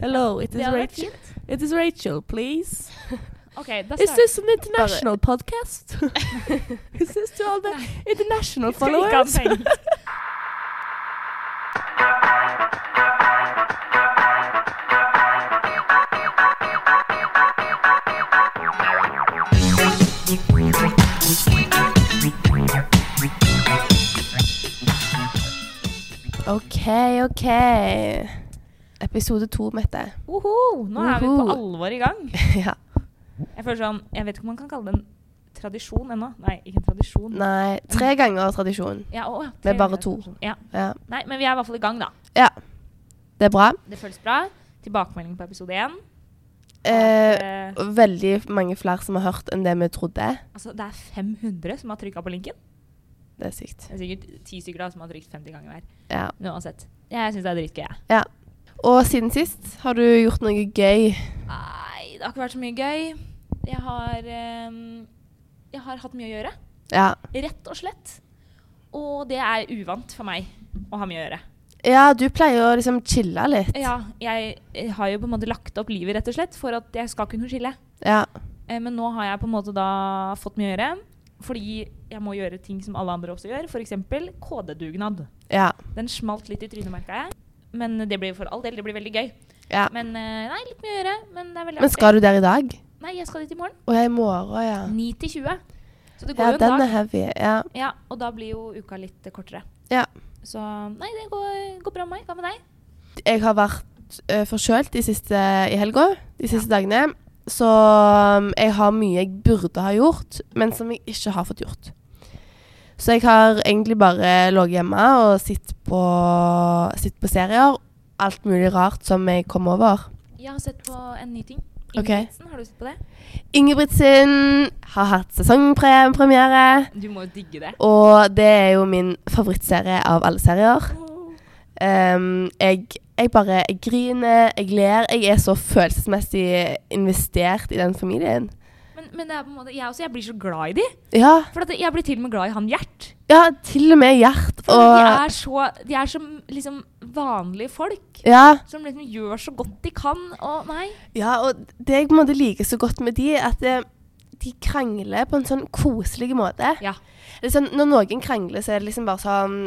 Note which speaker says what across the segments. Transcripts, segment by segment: Speaker 1: Hello, it
Speaker 2: Det
Speaker 1: is
Speaker 2: hadde vært
Speaker 1: Rachel.
Speaker 2: fint.
Speaker 1: It is Rachel, please.
Speaker 2: OK, da
Speaker 1: Is
Speaker 2: starter
Speaker 1: this an international podcast? is this to all the international
Speaker 2: Skulle ikke ha
Speaker 1: followers?
Speaker 2: tenkt.
Speaker 3: OK, OK. Episode to, Mette.
Speaker 2: Woho, Nå er vi på
Speaker 3: Woho.
Speaker 2: alvor i gang.
Speaker 3: ja.
Speaker 2: Jeg føler sånn, jeg vet ikke om man kan kalle det en tradisjon ennå. Nei, ikke en tradisjon.
Speaker 3: Nei, tre ganger tradisjon.
Speaker 2: Ja, å, ja,
Speaker 3: Vi er
Speaker 2: tre
Speaker 3: bare
Speaker 2: ganger
Speaker 3: to.
Speaker 2: tradisjon. Ja.
Speaker 3: Ja.
Speaker 2: Nei, men vi er i hvert fall i gang, da.
Speaker 3: ja. Det er bra.
Speaker 2: Det føles bra. Tilbakemelding på episode én.
Speaker 3: Eh,
Speaker 2: Eh,
Speaker 3: veldig mange flere som har hørt enn det vi trodde.
Speaker 2: altså, det er 500 som har trykka på linken.
Speaker 3: Det er sykt.
Speaker 2: Det er sikkert ti stykker da som har trykt 50 ganger hver.
Speaker 3: Ja.
Speaker 2: Men Uansett. Jeg syns det er dritgøy, jeg.
Speaker 3: ja. Og siden sist har du gjort noe gøy.
Speaker 2: Nei, det har ikke vært så mye gøy. Jeg har ehm, Jeg har hatt mye å gjøre.
Speaker 3: Ja.
Speaker 2: Rett og slett. Og det er uvant for meg å ha mye å gjøre.
Speaker 3: Ja, du pleier å liksom chille litt.
Speaker 2: Ja, jeg har jo på en måte lagt opp livet rett og slett for at jeg skal kunne skille.
Speaker 3: Ja.
Speaker 2: Eh, Men nå har jeg på en måte da fått mye å gjøre. Fordi jeg må gjøre ting som alle andre også gjør, f.eks. kodedugnad.
Speaker 3: Ja.
Speaker 2: Den smalt litt i trynet, merka jeg. Men det blir for all del det blir veldig gøy.
Speaker 3: ja.
Speaker 2: Men eh, nei, litt mye å gjøre. Men det er veldig
Speaker 3: Men skal du der i dag?
Speaker 2: artig. Nei, jeg skal dit i morgen.
Speaker 3: Å ja, i morgen, ja.
Speaker 2: 9 til 20. Så det går
Speaker 3: Ja,
Speaker 2: jo en
Speaker 3: den
Speaker 2: dag.
Speaker 3: er heavy. Ja.
Speaker 2: Ja, og da blir jo uka litt eh, kortere.
Speaker 3: ja.
Speaker 2: Så nei, det går, går bra med meg. Hva med deg?
Speaker 3: jeg har vært uh, forkjølt de siste, i helga, de siste dagene. Så um, jeg har mye jeg burde ha gjort, men som jeg ikke har fått gjort. Så jeg har egentlig bare ligget hjemme og sett på, sett på serier. Alt mulig rart som jeg kom over.
Speaker 2: Jeg har sett på en ny ting.
Speaker 3: Ok.
Speaker 2: Ingebrigtsen, har du sett på det?
Speaker 3: Ingebrigtsen har hatt sesongpremiere.
Speaker 2: Du må jo digge det.
Speaker 3: Og det er jo min favorittserie av alle serier. Ehm, jeg, jeg bare jeg griner, jeg ler. Jeg er så følelsesmessig investert i den familien.
Speaker 2: Men, men det er på en måte, jeg også, jeg blir så glad i de.
Speaker 3: Ja,
Speaker 2: For at jeg blir til og med glad i han Gjert.
Speaker 3: ja til og med Gjert
Speaker 2: For de
Speaker 3: og
Speaker 2: er så, de er som liksom vanlige folk.
Speaker 3: ja,
Speaker 2: Som liksom gjør så godt de kan. Og nei.
Speaker 3: ja, og det jeg på en måte liker så godt med de, er at eh, de krangler på en sånn koselig måte.
Speaker 2: Ja.
Speaker 3: Det er sånn, når noen krangler, så er det liksom bare sånn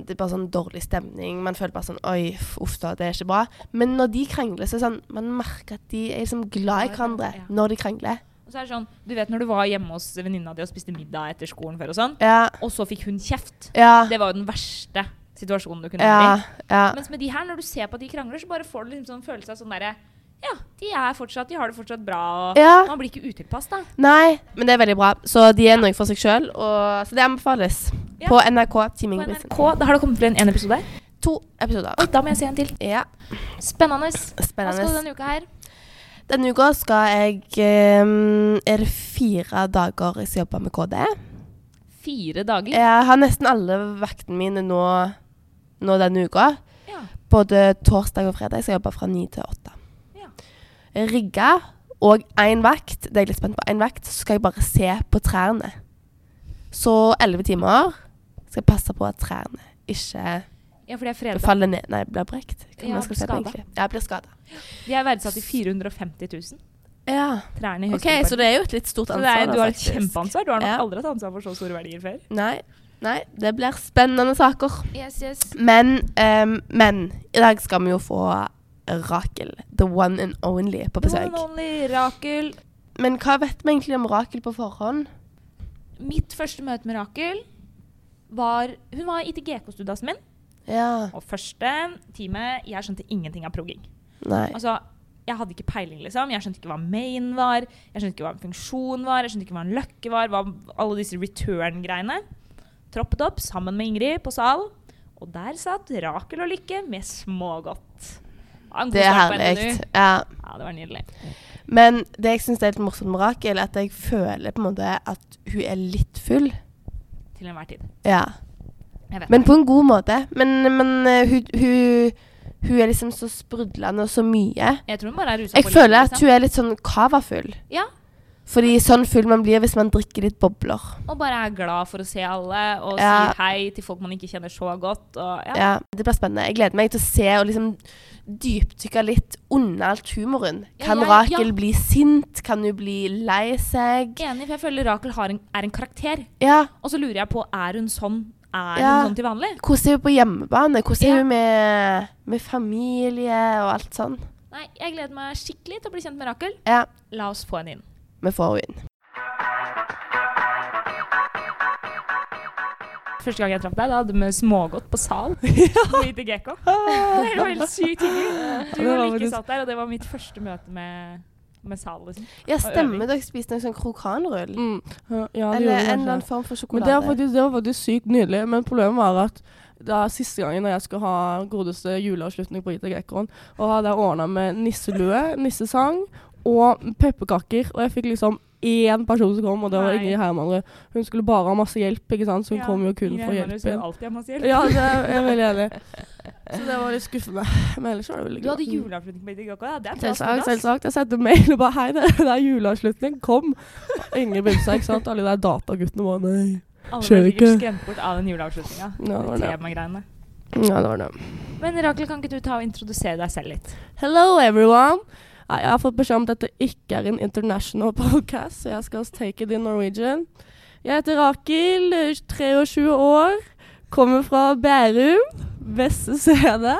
Speaker 3: det er bare sånn dårlig stemning. Man føler bare sånn Oi, f- uff da, det er ikke bra. Men når de krangler, så er det sånn Man merker at de er liksom glad i hverandre
Speaker 2: Ja.
Speaker 3: når de krangler.
Speaker 2: Og så er det sånn, du vet når du var hjemme hos venninna di og spiste middag etter skolen før og sånn,
Speaker 3: Ja.
Speaker 2: og så fikk hun kjeft.
Speaker 3: Ja.
Speaker 2: Det var jo den verste situasjonen du kunne
Speaker 3: Ah. Ja,
Speaker 2: være i.
Speaker 3: ja.
Speaker 2: Mens med de her, når du ser på at de krangler, så bare får du liksom sånn følelse av sånn derre Ja, de er fortsatt, de har det fortsatt bra, og
Speaker 3: Ja.
Speaker 2: man blir ikke utilpass, da.
Speaker 3: Nei, men det er veldig bra. Så de er noe for seg sjøl, så det anbefales.
Speaker 2: Ja.
Speaker 3: På NRK Team
Speaker 2: På
Speaker 3: Ingebrigtsen.
Speaker 2: NRK, da har det kommet til en, en episode.
Speaker 3: To episoder.
Speaker 2: Oi, da må jeg se en til.
Speaker 3: Ja,
Speaker 2: Spennende. Hva skal du
Speaker 3: spennende.
Speaker 2: denne uka her?
Speaker 3: Denne uka skal jeg ehm, Er det fire dager jeg skal jobbe med KD?
Speaker 2: Fire dager.
Speaker 3: Jeg har nesten alle vaktene mine nå, nå denne uka.
Speaker 2: Ja.
Speaker 3: Både torsdag og fredag skal jeg jobbe fra ni til åtte.
Speaker 2: Ja.
Speaker 3: Rigga og én vakt, det er jeg litt spent på, en vakt, så skal jeg bare se på trærne. Så elleve timer skal jeg passe på at trærne ikke
Speaker 2: ja, for det er fredag.
Speaker 3: faller ned Nei, blir brekt. Hva
Speaker 2: Ja,
Speaker 3: man skal
Speaker 2: blir
Speaker 3: se på,
Speaker 2: skadet.
Speaker 3: egentlig. Ja, blir skada.
Speaker 2: De er verdsatt til 450 000.
Speaker 3: Ja.
Speaker 2: Trærne i
Speaker 3: OK,
Speaker 2: Høgskolen.
Speaker 3: så det er jo et litt stort
Speaker 2: Så det
Speaker 3: ansvar.
Speaker 2: er, du har et
Speaker 3: da, faktisk.
Speaker 2: kjempeansvar. Du har nok
Speaker 3: Ja.
Speaker 2: aldri hatt ansvar for så store verdier før.
Speaker 3: Nei. Nei, det blir spennende saker.
Speaker 2: Yes, yes.
Speaker 3: Men, ehm, men i dag skal vi jo få Rakel, the one and only, på besøk.
Speaker 2: Only, Rakel.
Speaker 3: Men hva vet vi egentlig om Rakel på forhånd?
Speaker 2: Mitt første møte med Rakel var Hun var ITGK-studenten min.
Speaker 3: Ja.
Speaker 2: Og første time Jeg skjønte ingenting av progging.
Speaker 3: Nei.
Speaker 2: Altså, jeg hadde ikke peiling, liksom. Jeg skjønte ikke hva main var, jeg skjønte ikke hva en funksjon var, jeg skjønte ikke hva en løkke var, hva alle disse return-greiene. Troppet opp sammen med Ingrid på sal, og der satt Rakel og Lykke med smågodt. Ja, en god
Speaker 3: Det er
Speaker 2: start på
Speaker 3: herlig.
Speaker 2: NTNU.
Speaker 3: Ja.
Speaker 2: Ja, det var nydelig.
Speaker 3: Men det jeg syns er litt morsomt med Rakel, er at jeg føler på en måte at hun er litt full.
Speaker 2: Til enhver tid.
Speaker 3: Ja.
Speaker 2: Jeg vet.
Speaker 3: Men på en god måte. Men, men eh, hun, hun, hun er liksom så sprudlende og så mye.
Speaker 2: jeg tror hun bare er rusa
Speaker 3: Jeg føler at hun er litt sånn cavafull.
Speaker 2: liksom. Ja,
Speaker 3: Fordi sånn full man blir hvis man drikker litt bobler.
Speaker 2: Og bare er glad for å se alle, og
Speaker 3: Ja.
Speaker 2: sier hei til folk man ikke kjenner så godt. Og, ja.
Speaker 3: Ja. Det blir spennende. Jeg gleder meg til å se og liksom dypdykke litt under alt humoren.
Speaker 2: Ja,
Speaker 3: Kan
Speaker 2: jeg-
Speaker 3: Rakel
Speaker 2: ja.
Speaker 3: bli sint? Kan hun bli lei seg?
Speaker 2: Enig, for jeg føler Rakel har en, er en karakter.
Speaker 3: Ja.
Speaker 2: Og så lurer jeg på, er hun sånn? Er
Speaker 3: Ja.
Speaker 2: hun sånn til vanlig?
Speaker 3: Hvordan er hun på hjemmebane? Hvordan er
Speaker 2: Ja.
Speaker 3: hun med, med familie og alt sånn?
Speaker 2: Nei, jeg gleder meg skikkelig til å bli kjent med Rakel.
Speaker 3: Ja,
Speaker 2: La oss få henne inn.
Speaker 3: vi får henne inn.
Speaker 2: Første gang jeg traff deg, da hadde vi smågodt på sal. På IT Gekko. Det var helt sykt hyggelig. Du
Speaker 1: Det var
Speaker 2: og Lykke
Speaker 1: faktisk-
Speaker 2: satt der, og det var mitt første møte med, med sal. Liksom.
Speaker 3: Ja, stemmer dere spiste noe sånn krokanrull?
Speaker 1: Mm. Ja, det gjorde
Speaker 3: Eller en
Speaker 1: jeg kanskje.
Speaker 3: eller annen form for
Speaker 1: Men det var,
Speaker 3: sjokolade?
Speaker 1: faktisk, det var faktisk sykt nydelig. Men problemet var at da siste gangen jeg skulle ha godeste juleavslutning på Ita Gekkoen, og hadde jeg ordna med nisselue, nissesang og pepperkaker. Og jeg fikk liksom én person som kom, og det var
Speaker 2: Nei.
Speaker 1: Ingrid Hermanrud. Hun skulle bare ha masse hjelp, ikke sant? så hun
Speaker 2: Ja,
Speaker 1: kom jo kun
Speaker 2: Ingrid
Speaker 1: for
Speaker 2: Hermanrud skulle
Speaker 1: hjelpen.
Speaker 2: alltid ha masse hjelp.
Speaker 1: Ja, det er jeg er veldig enig. i. Så det var litt skuffende. Men ellers var det veldig
Speaker 2: Du hadde
Speaker 1: gøy.
Speaker 2: juleavslutning på IT Gekko. Ja. Det er bra
Speaker 1: Selvsagt.
Speaker 2: snudd, ass.
Speaker 1: selvsagt. Jeg sendte mail og bare 'Hei, det det er juleavslutning. Kom!' Ingrid begynte seg, ikke sant. Alle de der dataguttene var nei.
Speaker 2: Alle
Speaker 1: Skjer
Speaker 2: ble
Speaker 1: ikke.
Speaker 2: sikkert skremt bort av den juleavslutninga.
Speaker 1: Ja, det var det.
Speaker 2: Temagreiene.
Speaker 1: Ja, det var det.
Speaker 2: Men Rakel, kan ikke du ta og introdusere deg selv litt?
Speaker 1: Hello everyone! Nei, Jeg har fått beskjed om at dette ikke er en international podcast, så jeg skal take it in Norwegian. Jeg heter Rakel, 23 år, kommer fra Bærum, beste stedet.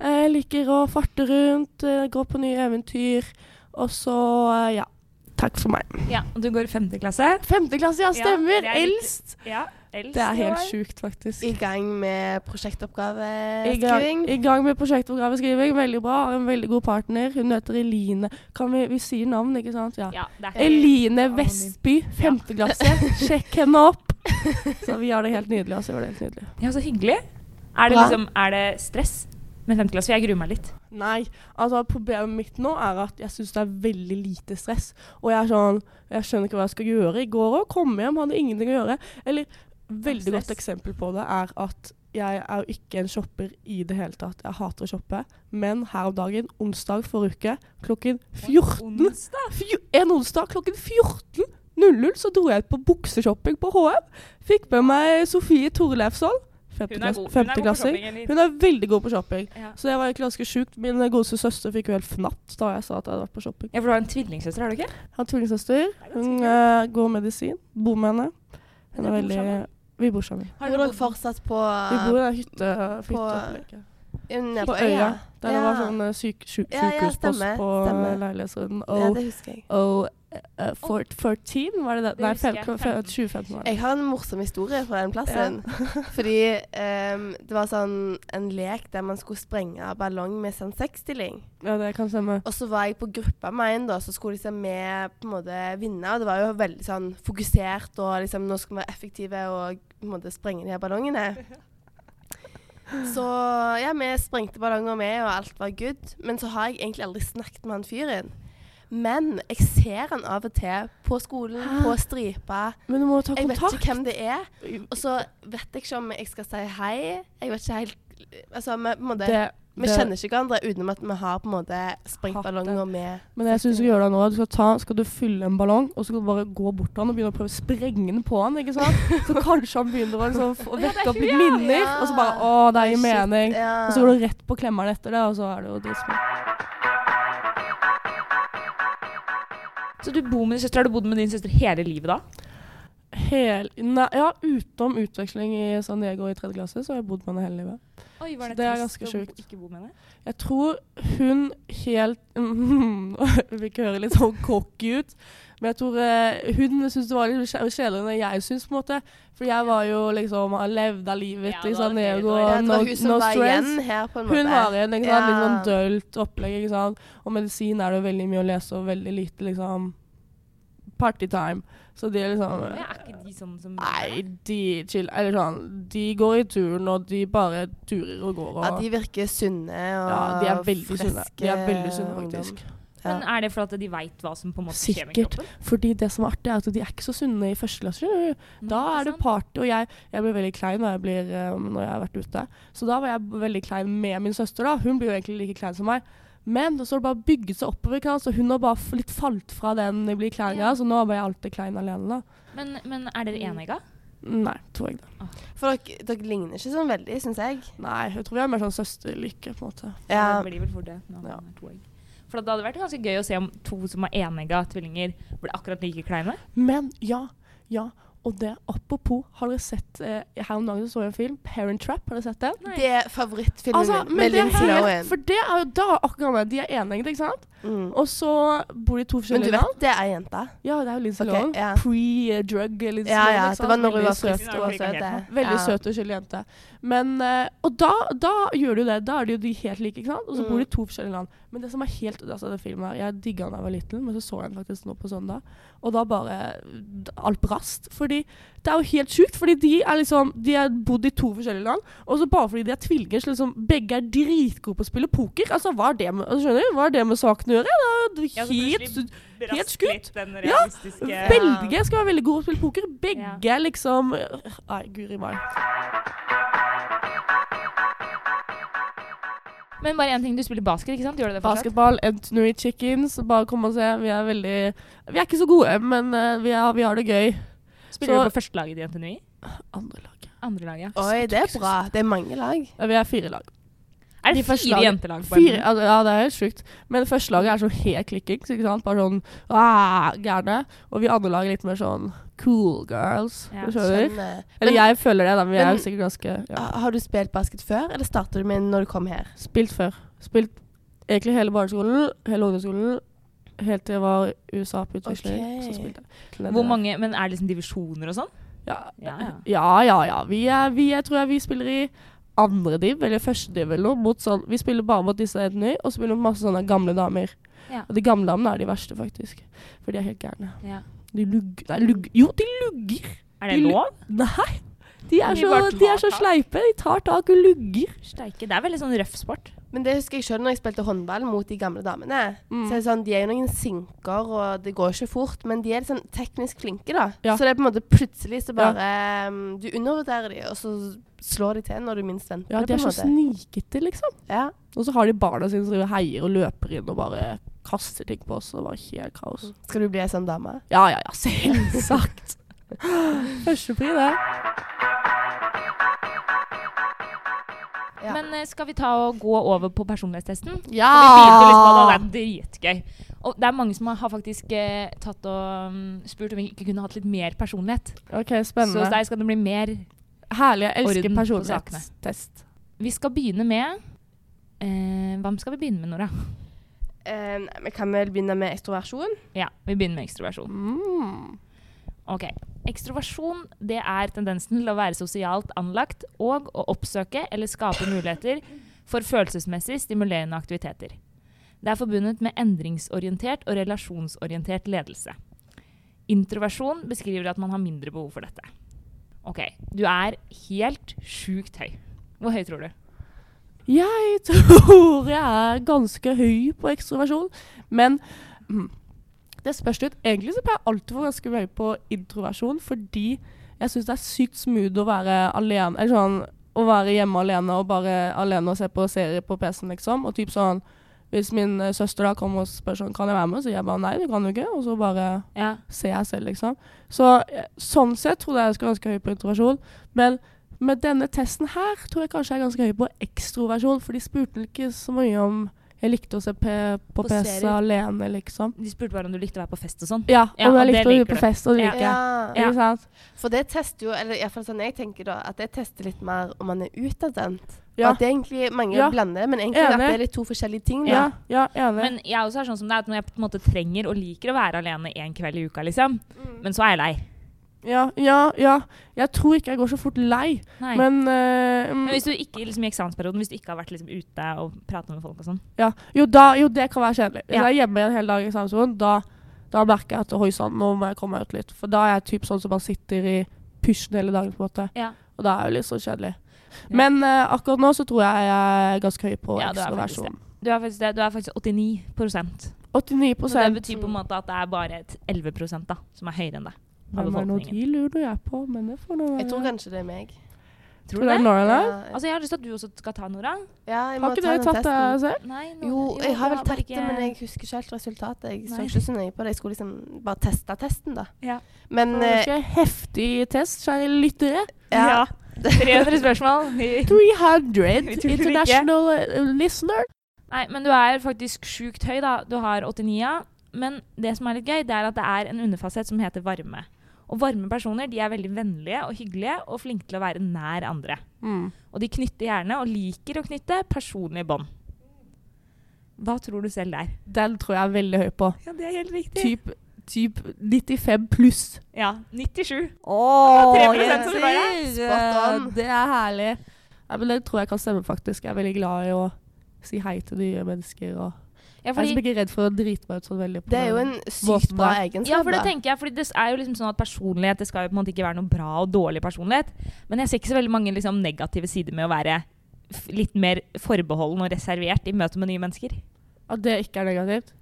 Speaker 1: Eh, Jeg liker å farte rundt, eh, gå på nye eventyr, og så, eh, ja. Takk for meg.
Speaker 2: Ja, og Du går i femte klasse.
Speaker 1: Femte klasse, ja,
Speaker 2: Ja,
Speaker 1: stemmer!
Speaker 2: det er litt-
Speaker 1: Eldst!
Speaker 2: Ja, eldst
Speaker 1: Det er
Speaker 2: i
Speaker 1: helt
Speaker 2: år.
Speaker 1: sjukt, faktisk.
Speaker 3: I gang med
Speaker 1: I gang,
Speaker 3: prosjektoppgaveskriving?
Speaker 1: I gang med prosjektoppgaveskriving. Veldig bra. Har en veldig god partner. Hun heter Eline. Kan vi, vi sier navn, ikke sant? Ja.
Speaker 2: Ja, det er helt-
Speaker 1: Eline
Speaker 2: anonym.
Speaker 1: Vestby, femte klasse. Sjekk henne opp! Så vi har det helt nydelig. Altså. Vi har det helt nydelig.
Speaker 2: Ja, så hyggelig. Er det,
Speaker 3: Bra.
Speaker 2: liksom, er det stress med femte klasse? For Jeg gruer meg litt.
Speaker 1: Nei, altså problemet mitt nå er at jeg syns det er veldig lite stress. Og jeg er sånn Jeg skjønner ikke hva jeg skal gjøre. I går òg kom jeg hjem, hadde ingenting å gjøre. Eller veldig godt
Speaker 2: Stress.
Speaker 1: eksempel på det er at jeg er jo ikke en shopper i det hele tatt. Jeg hater å shoppe. Men her om dagen, onsdag forrige uke, klokken 14
Speaker 2: Onsdag.
Speaker 1: Fjo- En onsdag klokken 14.00 så dro jeg ut på bukseshopping på HM. Fikk med meg Sofie Torleifsson.
Speaker 2: Hun er god. Hun er god på
Speaker 1: Femteklassing.
Speaker 2: shopping. eller?
Speaker 1: Hun er veldig god på shopping.
Speaker 2: Ja.
Speaker 1: Så det var egentlig ganske sjukt. Min godeste søster fikk jo helt fnatt da jeg sa at jeg hadde vært på shopping.
Speaker 2: ja, for du har en tvillingsøster, har du ikke?
Speaker 1: Jeg har en tvillingsøster.
Speaker 2: er ganske
Speaker 1: Hun
Speaker 2: kult.
Speaker 1: eh, går medisin. Bor med henne. Hun
Speaker 2: Dere
Speaker 1: er
Speaker 2: bor
Speaker 1: veldig
Speaker 2: sammen?
Speaker 1: Vi bor sammen.
Speaker 2: Har
Speaker 3: Bor
Speaker 2: dere
Speaker 3: dere
Speaker 2: bodd-
Speaker 3: fortsatt på
Speaker 1: Vi bor i en hytte, hytteopplegg.
Speaker 3: Nede
Speaker 1: På øya. Der det var sånn eh, syk, syk,
Speaker 3: Ja, ja,
Speaker 1: sykehuspost
Speaker 3: stemmer,
Speaker 1: på
Speaker 3: stemmer.
Speaker 1: leilighetsrunden.
Speaker 3: Ja, det husker jeg.
Speaker 1: Og eh, for, 14, var det det?
Speaker 2: Det
Speaker 1: Nei,
Speaker 2: husker jeg.
Speaker 1: 15,
Speaker 2: 15.
Speaker 1: 2015 var det.
Speaker 3: Jeg har en morsom historie fra den plassen. Fordi ehm, det var sånn en lek der man skulle sprenge ballong med sånn seksstilling.
Speaker 1: Ja, det kan stemme.
Speaker 3: Og så var jeg på gruppa med en, da, så skulle liksom vi på en måte vinne. Og det var jo veldig sånn fokusert, og liksom nå skal vi være effektive og på en måte sprenge de her ballongene. Så ja, vi sprengte ballonger med, og alt var good. Men så har jeg egentlig aldri snakket med han fyren. Men jeg ser han av og til på skolen,
Speaker 1: Hæ?
Speaker 3: på stripa.
Speaker 1: Men du må jo ta
Speaker 3: Jeg vet
Speaker 1: kontakt.
Speaker 3: ikke hvem det er. Og så vet jeg ikke om jeg skal si hei. Jeg vet ikke helt Altså, vi, på en måte,
Speaker 1: Det-
Speaker 3: vi
Speaker 1: det-
Speaker 3: kjenner ikke hverandre utenom at vi har på en måte sprengt
Speaker 1: Hatt det.
Speaker 3: ballonger med
Speaker 1: Men jeg synes du gjør det nå. Du skal, ta, skal du fylle en ballong, og så skal du bare gå bort til han og begynne å prøve å sprenge den på han, ikke sant? Så kanskje han begynner å liksom, få- vekke opp litt minner,
Speaker 3: Ja.
Speaker 1: og så bare Å, det gir
Speaker 3: Shit,
Speaker 1: mening.
Speaker 3: ja.
Speaker 1: Og så går du rett på klemmeren etter det, og så er det jo dritspennende.
Speaker 2: Så du bor med din søster. Har du bodd med din søster hele livet da?
Speaker 1: Hel... Nei, ja, utenom utveksling i San Diego i tredje klasse, så har jeg bodd med henne hele livet.
Speaker 2: Oi,
Speaker 1: var det Det er trist ganske å bo- sjukt.
Speaker 2: ikke bo med henne?
Speaker 1: Jeg tror hun helt Vi fikk høre litt sånn cocky ut. Men jeg tror eh, hun syntes det var litt kje- kjedeligere enn jeg syntes. på en måte. For jeg var jo liksom har levd av livet
Speaker 2: Ja,
Speaker 1: i
Speaker 2: du
Speaker 1: San
Speaker 2: hadde ferie,
Speaker 1: Diego.
Speaker 2: du
Speaker 3: ja,
Speaker 1: og
Speaker 2: hadde-
Speaker 3: Det
Speaker 1: no,
Speaker 3: var hun som
Speaker 1: no
Speaker 3: var
Speaker 1: stress.
Speaker 3: igjen her, på en måte.
Speaker 1: Hun var igjen. ikke sant? Litt sånn
Speaker 3: Ja.
Speaker 1: dølt opplegg. ikke sant? Og medisin er det jo veldig mye å lese og veldig lite liksom partytime. Så de er liksom
Speaker 2: Ja, er ikke de sånn som
Speaker 1: Nei, de chill. Eller sånn De går i turen, og de bare turer og går. Og,
Speaker 3: Ja, de virker sunne og
Speaker 1: ja, de er veldig sunne.
Speaker 3: friske
Speaker 1: De er veldig sunne, faktisk.
Speaker 3: ungdom. Ja.
Speaker 2: Men er det fordi at de veit hva som på en måte skjer med
Speaker 1: Sikkert.
Speaker 2: kroppen?
Speaker 1: Fordi det som er artig, er at de er ikke så sunne i første klasse. skjønner du. Da
Speaker 2: Nei,
Speaker 1: er det
Speaker 2: Mm, sant?
Speaker 1: party, og jeg, jeg blir veldig klein når jeg, blir, eh, når jeg har vært ute. Så da var jeg veldig klein med min søster, da. Hun blir jo egentlig like klein som meg. Men så har det bare bygget seg oppover, ikke sant? så hun har bare f- litt falt fra den jeg blir klein
Speaker 2: Ja.
Speaker 1: av, så nå er bare jeg alltid klein alene, da.
Speaker 2: Men, men er dere enegga?
Speaker 1: Nei, tror jeg det.
Speaker 3: For dere, dere ligner ikke sånn veldig, syns jeg.
Speaker 1: Nei, jeg tror vi er mer sånn søsterlykke, på en måte.
Speaker 3: Ja.
Speaker 2: Det blir vel fort det. når
Speaker 1: Ja.
Speaker 2: man er to egg. For det hadde vært ganske gøy å se om to som er enegga tvillinger, ble akkurat like kleine.
Speaker 1: Men ja, ja. Og det, apropos, har dere sett eh, Her om dagen så jeg en film, 'Parent Trap'. Har dere sett den?
Speaker 2: Nei.
Speaker 3: Det er favorittfilmen
Speaker 1: Altså, men
Speaker 3: min. Med
Speaker 1: det er
Speaker 3: Lindsay
Speaker 1: helt,
Speaker 3: Lohan.
Speaker 1: for det er jo da akkurat det. De er enegget, ikke sant?
Speaker 3: Mm.
Speaker 1: Og så bor de i to
Speaker 3: Men du
Speaker 1: forskjellige land.
Speaker 3: vet det er ei jente?
Speaker 1: Ja, det er jo Lindsay
Speaker 3: Ok,
Speaker 1: Lohan.
Speaker 3: ja.
Speaker 1: Pre-drug. Lindsay
Speaker 3: Ja,
Speaker 1: Lohan,
Speaker 3: ja.
Speaker 1: ikke
Speaker 3: Det
Speaker 1: sant?
Speaker 3: var når hun
Speaker 1: Veldig
Speaker 3: var
Speaker 1: søt.
Speaker 3: frisk og søt. ja.
Speaker 1: Veldig
Speaker 3: Ja.
Speaker 1: søt og uskyldig jente. Men, eh, og da, da gjør de jo det. Da er de jo de helt like, ikke sant? Og så
Speaker 3: Mm.
Speaker 1: bor de i to forskjellige land. Men det som er helt altså, den filmen her, Jeg digga den da jeg var liten, men så så jeg den faktisk nå på søndag. Og da bare d- Alt brast. Fordi det er jo helt sjukt. Fordi de er liksom De har bodd i to forskjellige land, og så bare fordi de er tvillinger, så liksom Begge er dritgode på å spille poker. Altså, hva er det med altså, Skjønner du? Hva er det med saken å gjøre? Det
Speaker 2: Ja,
Speaker 1: er
Speaker 2: så
Speaker 1: jo helt
Speaker 2: plutselig brast
Speaker 1: helt skutt.
Speaker 2: litt Den
Speaker 1: Ja,
Speaker 2: realistiske
Speaker 1: Belgia skal være veldig gode til å spille poker. Begge liksom øh, Nei, guri meg.
Speaker 2: Men bare én ting. Du spiller basket, ikke sant? Gjør du det fortsatt?
Speaker 1: Basketball, Antonary Chickens. Bare kom og se. Vi er veldig Vi er ikke så gode, men eh, vi, er, vi har det gøy.
Speaker 2: Spiller
Speaker 1: Så-
Speaker 2: du på førstelaget i NTNUI?
Speaker 1: Andre lag.
Speaker 2: Andre laget.
Speaker 3: Oi, det er bra. Det er mange lag.
Speaker 1: Ja, Vi er fire lag.
Speaker 2: Er det
Speaker 1: De første
Speaker 2: fire
Speaker 1: laget-
Speaker 2: jentelag på
Speaker 1: Fire,
Speaker 2: NTNU?
Speaker 1: altså, ja, det er helt sjukt. Men førstelaget er sånn helt klikkings. Ikke sant? Bare sånn ah, gærne. Og vi andre lag er litt mer sånn cool girls.
Speaker 2: Ja,
Speaker 1: du skjønner?
Speaker 3: Skjønner.
Speaker 1: Eller jeg føler det, da. Men vi er
Speaker 3: men- Ah.
Speaker 1: jo sikkert ganske ja.
Speaker 3: Ha- Har du spilt basket før, eller startet du med når du kom her?
Speaker 1: Spilt før. Spilt egentlig hele barneskolen, hele ungdomsskolen. Helt til jeg var i USA på utveksling.
Speaker 3: Ok.
Speaker 1: Så spilte jeg.
Speaker 2: Hvor mange, men er det liksom divisjoner og sånn?
Speaker 1: Ja,
Speaker 2: Ja,
Speaker 1: ja,
Speaker 2: ja.
Speaker 1: ja. Vi er, vi, jeg tror jeg vi spiller i andre div, eller første div eller noe. Mot sånn, vi spiller bare mot disse Edny, og så spiller vi mot masse sånne gamle damer.
Speaker 2: Ja.
Speaker 1: Og de gamle damene er de verste, faktisk. For de er helt gærne.
Speaker 2: Ja.
Speaker 1: De lugger Nei, lugg... Jo, de lugger!
Speaker 2: Er det
Speaker 1: De-
Speaker 2: lov?
Speaker 1: Nei! De er,
Speaker 2: De
Speaker 1: så,
Speaker 2: bare tar
Speaker 1: de er så
Speaker 2: tak.
Speaker 1: sleipe. De tar tak og lugger.
Speaker 2: Steike. Det er veldig sånn røff sport.
Speaker 3: Men det husker jeg sjøl når jeg spilte håndball mot de gamle damene.
Speaker 1: Mm.
Speaker 3: Så er det sånn, De er jo noen sinker, og det går ikke fort, men de er litt sånn teknisk flinke, da.
Speaker 1: Ja.
Speaker 3: Så det er på en måte plutselig så bare um, Du undervurderer de, og så slår de til når du minst venter
Speaker 1: Ja,
Speaker 3: det.
Speaker 1: de
Speaker 3: på
Speaker 1: er
Speaker 3: en
Speaker 1: så
Speaker 3: måte.
Speaker 1: snikete, liksom.
Speaker 3: Ja.
Speaker 1: Og så har de barna sine som driver og heier og løper inn og bare kaster ting på oss. Og bare helt kaos.
Speaker 3: Skal du bli ei sånn dame?
Speaker 1: Ja, ja, ja, selvsagt. Førstepri, det.
Speaker 3: Ja.
Speaker 2: Men eh, skal vi ta og gå over på personlighetstesten?
Speaker 1: Ja!
Speaker 2: Vi begynte liksom på det, og det er dritgøy. Og det er mange som har faktisk eh, tatt og mm, spurt om vi ikke kunne hatt litt mer personlighet.
Speaker 1: Ok,
Speaker 2: Så
Speaker 1: spennende.
Speaker 2: hos deg skal det bli mer.
Speaker 1: Herlig. Jeg
Speaker 2: Orden
Speaker 1: elsker
Speaker 2: på
Speaker 1: personlighetstest.
Speaker 2: Vi skal begynne med eh, Hvem skal vi begynne med, Nora?
Speaker 3: Eh, nei, vi kan vel begynne med ekstroversjon.
Speaker 2: Ja, vi begynner med ekstroversjon.
Speaker 1: Mm.
Speaker 2: Ok. Ekstroversjon det er tendensen til å være sosialt anlagt og å oppsøke eller skape muligheter for følelsesmessig stimulerende aktiviteter. Det er forbundet med endringsorientert og relasjonsorientert ledelse. Introversjon beskriver at man har mindre behov for dette. Ok, du er helt sjukt høy. Hvor høy tror du?
Speaker 1: Jeg tror jeg er ganske høy på ekstroversjon, men mm, det spørs litt. Egentlig så pleier jeg alltid å være ganske høy på introversjon, fordi jeg syns det er sykt smooth å være alene. Eller sånn å være hjemme alene og bare alene og se på serier på PC-en, liksom. Og typ sånn Hvis min eh, søster da kommer og spør sånn, kan jeg være med, så sier jeg bare nei, det kan du ikke. Og så bare
Speaker 2: Ja.
Speaker 1: ser jeg selv, liksom. Så eh, sånn sett tror jeg jeg skal ganske høy på introversjon. Men med denne testen her tror jeg kanskje jeg er ganske høy på ekstroversjon, for de spurte vel ikke så mye om jeg likte å se P på
Speaker 2: På
Speaker 1: PC
Speaker 2: serier.
Speaker 1: alene, liksom.
Speaker 2: De spurte bare om du likte å være på fest og sånn.
Speaker 1: Ja,
Speaker 2: Ja,
Speaker 1: om jeg
Speaker 2: og det
Speaker 1: likte å
Speaker 2: liker
Speaker 1: gå på
Speaker 2: du.
Speaker 1: fest, og det
Speaker 2: Ja.
Speaker 1: liker jeg.
Speaker 2: Ja.
Speaker 1: Ikke sant?
Speaker 3: For det tester jo, eller iallfall sånn jeg tenker da, at det tester litt mer om man er utadvendt.
Speaker 1: Ja.
Speaker 3: At det er egentlig mange
Speaker 1: Ja.
Speaker 3: blander, men egentlig at
Speaker 1: Enig.
Speaker 3: det er litt to forskjellige ting. Da.
Speaker 1: Ja, ja, enig.
Speaker 2: Men jeg også er sånn som det er at når jeg på en måte trenger og liker å være alene en kveld i uka, liksom, men så er jeg lei.
Speaker 1: ja, ja, ja. Jeg tror ikke jeg går så fort lei,
Speaker 2: Nei.
Speaker 1: men, eh, mm,
Speaker 2: Men hvis du ikke liksom, i eksamensperioden, hvis du ikke har vært liksom, ute og pratet med folk og sånn
Speaker 1: ja. jo, da, jo, det kan være kjedelig. Hvis
Speaker 2: Ja.
Speaker 1: jeg er hjemme en hel dag i eksamensperioden, da, da merker jeg at oi sann, nå må jeg komme meg ut litt. For da er jeg typ sånn som bare sitter i pysjen hele dagen, på en måte.
Speaker 2: Ja.
Speaker 1: Og det er jo litt sånn kjedelig.
Speaker 2: Ja.
Speaker 1: Men eh, akkurat nå så tror jeg jeg er ganske høy på
Speaker 2: Ja, du er faktisk
Speaker 1: ekstroversjon.
Speaker 2: Du er faktisk, det. Du er faktisk 89 Så
Speaker 1: 89
Speaker 2: det betyr på en måte at det er bare et 11 da, som er høyere enn deg. av
Speaker 1: Hvem er nå
Speaker 2: befolkningen.
Speaker 1: de lurer jeg på, men det får nå være
Speaker 3: Jeg tror kanskje det er meg.
Speaker 2: Tror
Speaker 1: Tror
Speaker 2: du
Speaker 1: det er
Speaker 2: det?
Speaker 1: Nora der?
Speaker 3: Ja,
Speaker 2: Altså, jeg har lyst til at du også skal ta, Nora.
Speaker 3: ja, jeg må
Speaker 1: Har ikke
Speaker 3: ta
Speaker 1: dere
Speaker 3: den
Speaker 1: tatt det altså?
Speaker 3: testen.
Speaker 1: selv?
Speaker 2: Nei, Nora-
Speaker 3: Jo, jeg har
Speaker 2: det var
Speaker 3: vel
Speaker 2: bare
Speaker 3: tatt det,
Speaker 2: ikke-
Speaker 3: men jeg husker ikke helt resultatet. Jeg så
Speaker 2: Nei.
Speaker 3: ikke så nøye på det. Jeg skulle liksom bare teste testen, da.
Speaker 2: Ja.
Speaker 3: Men
Speaker 1: Det er
Speaker 3: eh,
Speaker 1: ikke heftig test, kjære lyttere.
Speaker 3: ja.
Speaker 2: Ja. 300 spørsmål.
Speaker 1: 300
Speaker 2: Vi tror det ikke.
Speaker 1: international eh, listener.
Speaker 2: Nei, men du er faktisk sjukt høy, da. Du har 89, ja. Men det som er litt gøy, det er at det er en underfasett som heter varme. Og varme personer de er veldig vennlige og hyggelige og flinke til å være nær andre. Og de knytter gjerne, og liker å knytte, personlige bånd. Hva tror du selv der?
Speaker 1: Den tror jeg er veldig høy på.
Speaker 2: Ja, det er helt riktig.
Speaker 1: Typ, typ 95 pluss.
Speaker 2: Ja, 97.
Speaker 1: Åh,
Speaker 2: Det var 3%
Speaker 1: jenter!
Speaker 2: som bare,
Speaker 3: spot on.
Speaker 1: Det er herlig. Ja, men det tror jeg kan stemme, faktisk. Jeg er veldig glad i å si hei til nye mennesker. Og jeg
Speaker 2: Ja,
Speaker 1: er
Speaker 2: fordi,
Speaker 1: liksom ikke redd for å drite meg ut sånn veldig. på
Speaker 3: Det er jo
Speaker 1: den.
Speaker 3: en sykt bra
Speaker 2: ja,
Speaker 3: egenskap,
Speaker 2: for det
Speaker 3: da.
Speaker 2: tenker jeg, fordi det er jo liksom sånn at personlighet det skal jo på en måte ikke være noe bra og dårlig personlighet. Men jeg ser ikke så veldig mange liksom, negative sider med å være f- litt mer forbeholden og reservert i møte med nye mennesker.
Speaker 1: At det ikke er negativt?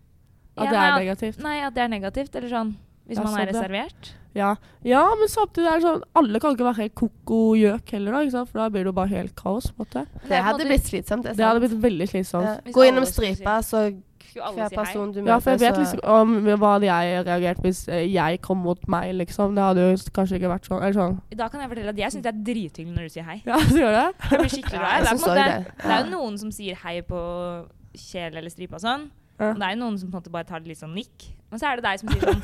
Speaker 1: At
Speaker 2: Ja,
Speaker 1: det er
Speaker 2: nei,
Speaker 1: negativt?
Speaker 2: Nei, at det er negativt, eller sånn. Hvis
Speaker 1: Ja,
Speaker 2: man er
Speaker 1: sånn, ja.
Speaker 2: reservert.
Speaker 1: Ja. ja, men samtidig er det sånn Alle kan ikke være helt koko gjøk heller, da, ikke sant? for da blir det jo bare helt kaos. på en måte.
Speaker 2: Men
Speaker 3: Det
Speaker 2: er på en
Speaker 3: hadde
Speaker 2: måte-
Speaker 3: blitt slitsomt. Det,
Speaker 1: Det hadde blitt veldig slitsomt.
Speaker 3: blitt
Speaker 2: Hvis
Speaker 3: Gå
Speaker 2: alle
Speaker 3: innom
Speaker 2: skulle si-
Speaker 3: stripa, så
Speaker 2: Skulle alle
Speaker 3: hver
Speaker 2: si hei?
Speaker 3: person du møter,
Speaker 1: Ja, for jeg vet
Speaker 3: så
Speaker 1: liksom om hva hadde jeg reagert hvis eh, jeg kom mot meg, liksom. Det hadde jo kanskje ikke vært sånn. Eller sånn.
Speaker 2: Da kan jeg fortelle at jeg syns det er drithyggelig når du sier hei.
Speaker 1: Ja, så gjør det.
Speaker 2: Jeg blir skikkelig
Speaker 3: Ja,
Speaker 2: glad. Det er på
Speaker 3: jeg
Speaker 2: en
Speaker 3: synes også
Speaker 2: måte-
Speaker 3: det.
Speaker 2: det er jo noen som sier hei på kjel eller stripe og sånn.
Speaker 1: Ja.
Speaker 2: Og det er jo noen som på en måte bare tar det litt sånn nikk. Men så er det deg som sier sånn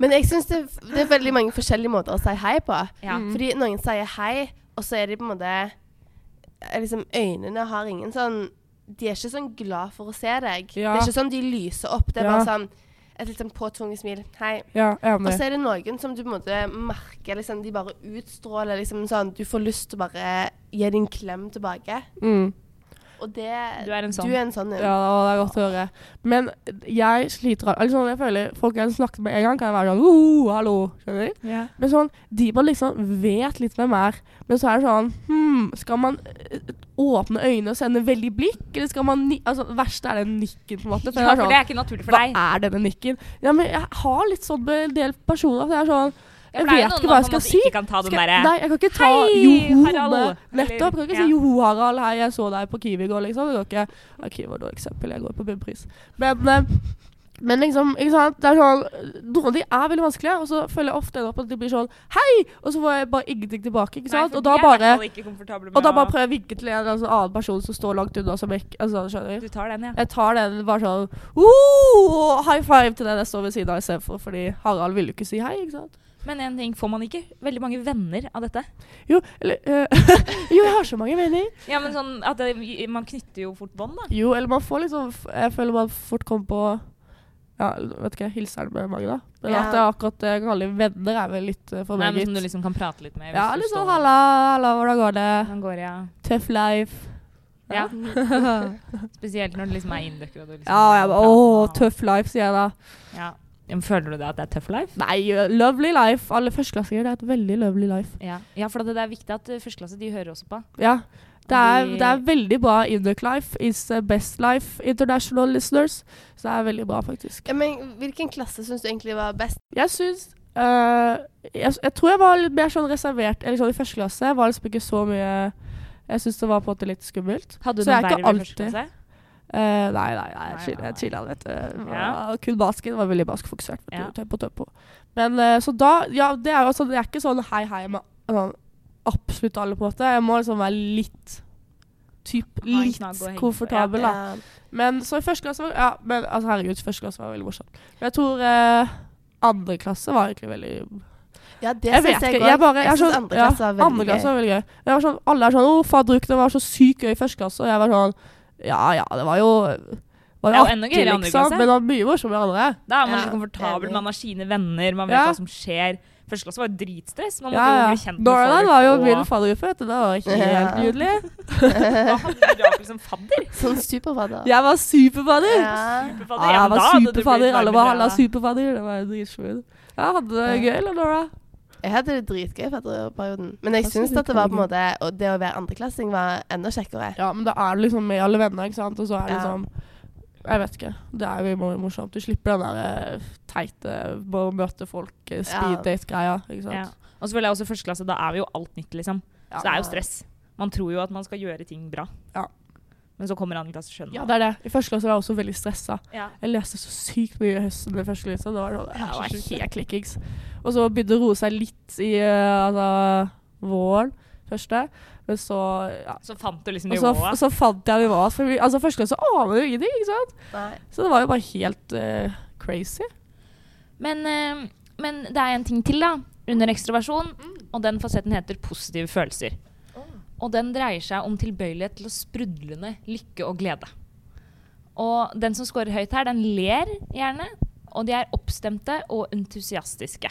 Speaker 3: Men jeg syns det, det er veldig mange forskjellige måter å si hei på.
Speaker 2: Ja.
Speaker 1: Mm.
Speaker 3: Fordi noen sier hei, og så er de på en måte eh, liksom Øynene har ingen sånn De er ikke sånn glad for å se deg.
Speaker 1: Ja.
Speaker 3: Det er ikke sånn de lyser opp. Det er
Speaker 1: Ja.
Speaker 3: bare sånn et litt sånn påtvunget smil. Hei.
Speaker 1: Ja,
Speaker 3: Og
Speaker 1: enig.
Speaker 3: så er det noen som du på en måte merker liksom, De bare utstråler liksom sånn Du får lyst til å bare gi dem en klem tilbake.
Speaker 1: Mm.
Speaker 3: Og det
Speaker 2: Du er en sånn.
Speaker 3: Du er en sånn,
Speaker 1: Ja, det er godt å høre. Men jeg sliter al- altså, jeg føler Folk jeg snakker med en gang, kan jeg være sånn «Woho, Hallo, skjønner du? Men sånn, de man liksom vet litt hvem er. Men så er det sånn hmm, Skal man eh, åpne øynene og sende veldig blikk? Eller skal man ni altså, Det verste er den nikken, på en måte. For jeg
Speaker 2: Ja,
Speaker 1: er
Speaker 2: for
Speaker 1: sånn,
Speaker 2: det er ikke naturlig for deg.
Speaker 1: Hva er denne nikken? Ja, men jeg har litt sånn med en del personer at jeg er sånn
Speaker 2: Ja,
Speaker 1: Jeg
Speaker 2: for det er jo
Speaker 1: vet
Speaker 2: noen
Speaker 1: ikke hva jeg
Speaker 2: man på en
Speaker 1: skal
Speaker 2: måte
Speaker 1: si.
Speaker 2: ikke kan ta den
Speaker 1: Skal,
Speaker 2: derre-
Speaker 1: nei, jeg kan ikke ta
Speaker 2: Hei,
Speaker 1: joho
Speaker 2: Harald,
Speaker 1: med- Nettopp. Jeg kan ikke
Speaker 2: eller-
Speaker 1: si joho, Harald. Hei, jeg så deg på Kiwi i går, liksom. Det går ikke. Ja, Kiwi var et dårlig eksempel. Jeg går på bunnpris. Men, eh, men liksom, ikke sant. Det er sånn Noen av de er veldig vanskelige, og så føler jeg ofte opp at de blir sånn Hei! Og så får jeg bare ingenting tilbake, ikke sant.
Speaker 2: Nei, for
Speaker 1: og da
Speaker 2: de er i hvert
Speaker 1: bare
Speaker 2: fall ikke komfortable med
Speaker 1: og da bare
Speaker 2: å-
Speaker 1: prøver jeg å vinke til en altså, annen person som står langt unna. Som jeg, ikke- altså, skjønner
Speaker 2: Du tar den, ja.
Speaker 1: jeg tar den bare sånn «Woo!» High five til den jeg står ved siden av istedenfor, fordi Harald ville jo ikke si hei, ikke sant?
Speaker 2: Men en ting får man ikke. Veldig mange venner av dette.
Speaker 1: Jo, eller eh, Jo, jeg har så mange venner.
Speaker 2: Ja, men sånn at det, Man knytter jo fort bånd, da.
Speaker 1: Jo, eller man får liksom f- Jeg føler man fort kommer på Ja, vet ikke, hilser med mange, da. Men
Speaker 3: Ja.
Speaker 1: at jeg akkurat eh, kan kalle dem venner, er vel litt eh, for
Speaker 2: Nei,
Speaker 1: meg,
Speaker 2: men Som du
Speaker 1: gitt.
Speaker 2: liksom kan prate litt med. hvis
Speaker 1: Ja,
Speaker 2: du
Speaker 1: litt sånn
Speaker 2: står-
Speaker 1: halla, halla, hvordan går det?
Speaker 2: Hvordan går det, ja.
Speaker 1: Tough life.
Speaker 2: ja.
Speaker 1: ja,
Speaker 2: Spesielt når det liksom er indøkker. og du Liksom
Speaker 1: jeg bare Å, tough life, sier jeg da.
Speaker 2: Ja. Ja, men Føler du det at det er tough life?
Speaker 1: Nei, eh, lovely life. Alle førsteklassinger, det er et veldig lovely life.
Speaker 2: Ja, ja for det er viktig at eh, førsteklasse de hører også på.
Speaker 1: Ja. Det er,
Speaker 2: Vi-
Speaker 1: det er veldig bra. Induc Life is the best life international listeners. Så det er veldig bra, faktisk.
Speaker 3: Ja, men hvilken klasse syns du egentlig var best?
Speaker 1: Jeg syns øh, jeg, jeg tror jeg var litt mer sånn reservert eller sånn i første klasse. Jeg var liksom ikke så mye Jeg syns det var på en måte litt skummelt.
Speaker 2: Hadde du
Speaker 1: Så jeg er
Speaker 2: noe
Speaker 1: ikke
Speaker 2: verre ved første
Speaker 1: alltid-
Speaker 2: klasse?
Speaker 1: Eh, nei, nei, nei,
Speaker 2: Nei,
Speaker 1: chill-
Speaker 2: nei,
Speaker 1: jeg chilla, vet du.
Speaker 2: Ja.
Speaker 1: Kun basken var veldig baskfokusert. vet du.
Speaker 2: Ja.
Speaker 1: Tempo, tempo. Men eh, så da Ja, det er jo sånn, det er ikke sånn hei, hei med sånn, absolutt alle, på en måte. Jeg må liksom være litt Typ
Speaker 2: Ha en
Speaker 1: litt
Speaker 2: knagg å henge på.
Speaker 1: komfortabel, da.
Speaker 3: Ja.
Speaker 1: Men så i første klasse var, Ja, men altså herregud, første klasse var veldig morsomt. Men jeg tror eh, andre klasse var egentlig veldig
Speaker 3: Ja, det
Speaker 1: Jeg
Speaker 3: syns
Speaker 1: vet
Speaker 3: jeg
Speaker 1: ikke.
Speaker 3: òg.
Speaker 1: Jeg, bare, jeg, er
Speaker 3: syns
Speaker 1: sånn-
Speaker 3: andre klasse
Speaker 1: ja,
Speaker 3: var veldig
Speaker 1: andre klasse
Speaker 3: gøy.
Speaker 1: var veldig gøy. Jeg var sånn, alle er sånn 'Å, fadderuk, det var så sykt gøy i første klasse.' Og jeg var sånn Ja ja, det var jo var
Speaker 2: Det er
Speaker 1: artig,
Speaker 2: jo
Speaker 1: liksom.
Speaker 2: enda gøyere i andre klasse.
Speaker 1: Men det var mye morsommere i andre.
Speaker 2: Da er man
Speaker 3: Ja,
Speaker 2: så komfortabel,
Speaker 3: enig.
Speaker 2: man har sine venner, man vet
Speaker 1: Ja.
Speaker 2: hva som skjer. Første klasse var jo dritstress. Man måtte
Speaker 1: Ja,
Speaker 2: jo
Speaker 1: ja.
Speaker 2: bli kjent med
Speaker 1: Norland
Speaker 2: folk,
Speaker 1: var jo
Speaker 2: og-
Speaker 1: min faddergruppe, vet du. Det var helt
Speaker 3: Ja.
Speaker 1: nydelig.
Speaker 2: Da hadde du Rakel som fadder.
Speaker 3: Sånn superfadder.
Speaker 1: Jeg var superfadder. Ja.
Speaker 3: Ja.
Speaker 1: jeg
Speaker 2: Superfadder. men
Speaker 1: var
Speaker 2: da hadde du blitt
Speaker 1: superfadder. Alle var
Speaker 2: varmere,
Speaker 1: halla
Speaker 2: da.
Speaker 1: superfadder. Det var jo dritsjukt. Jeg hadde det
Speaker 3: Ja.
Speaker 1: gøy, eller, Nora?
Speaker 3: Jeg hadde det dritgøy i fadderperioden. Men jeg
Speaker 1: Jeg
Speaker 3: syns
Speaker 1: synes
Speaker 3: at det var på en
Speaker 1: det
Speaker 3: måte Og det å være andreklassing var enda kjekkere.
Speaker 1: Ja, men da er du liksom med alle venner, ikke sant? Og så er det
Speaker 3: Ja.
Speaker 1: liksom Jeg vet ikke. Det er jo mor- morsomt. Du slipper den der eh, teite bare å møte folk, eh, speed
Speaker 3: Ja.
Speaker 1: date-greia, ikke sant.
Speaker 2: Ja. Og så føler jeg også første klasse, da er jo alt nytt, liksom. Så det er jo stress. Man tror jo at man skal gjøre ting bra.
Speaker 1: Ja.
Speaker 2: Men så kommer andre klasse og skjønner
Speaker 1: Ja, det er det. I første klasse var jeg også veldig stressa.
Speaker 2: Ja.
Speaker 1: Jeg leste så sykt mye i høsten i første klasse. Det var, det
Speaker 2: Ja,
Speaker 1: var
Speaker 2: så sjukt.
Speaker 1: helt klikkings. Og så begynte det å roe seg litt i eh, altså, våren første. Men så ja.
Speaker 2: Så fant du liksom
Speaker 1: Og så,
Speaker 2: nivået.
Speaker 1: så fant jeg nivået. For vi, altså, første klasse aner jo ingenting, ikke sant?
Speaker 3: Nei.
Speaker 1: Så det var jo bare helt eh, crazy.
Speaker 2: Men, eh, men det er en ting til, da. Under ekstroversjon. Og den fasetten heter positive følelser. Og den dreier seg om tilbøyelighet til å sprudlende lykke og glede. Og den som scorer høyt her, den ler gjerne. Og de er oppstemte og entusiastiske.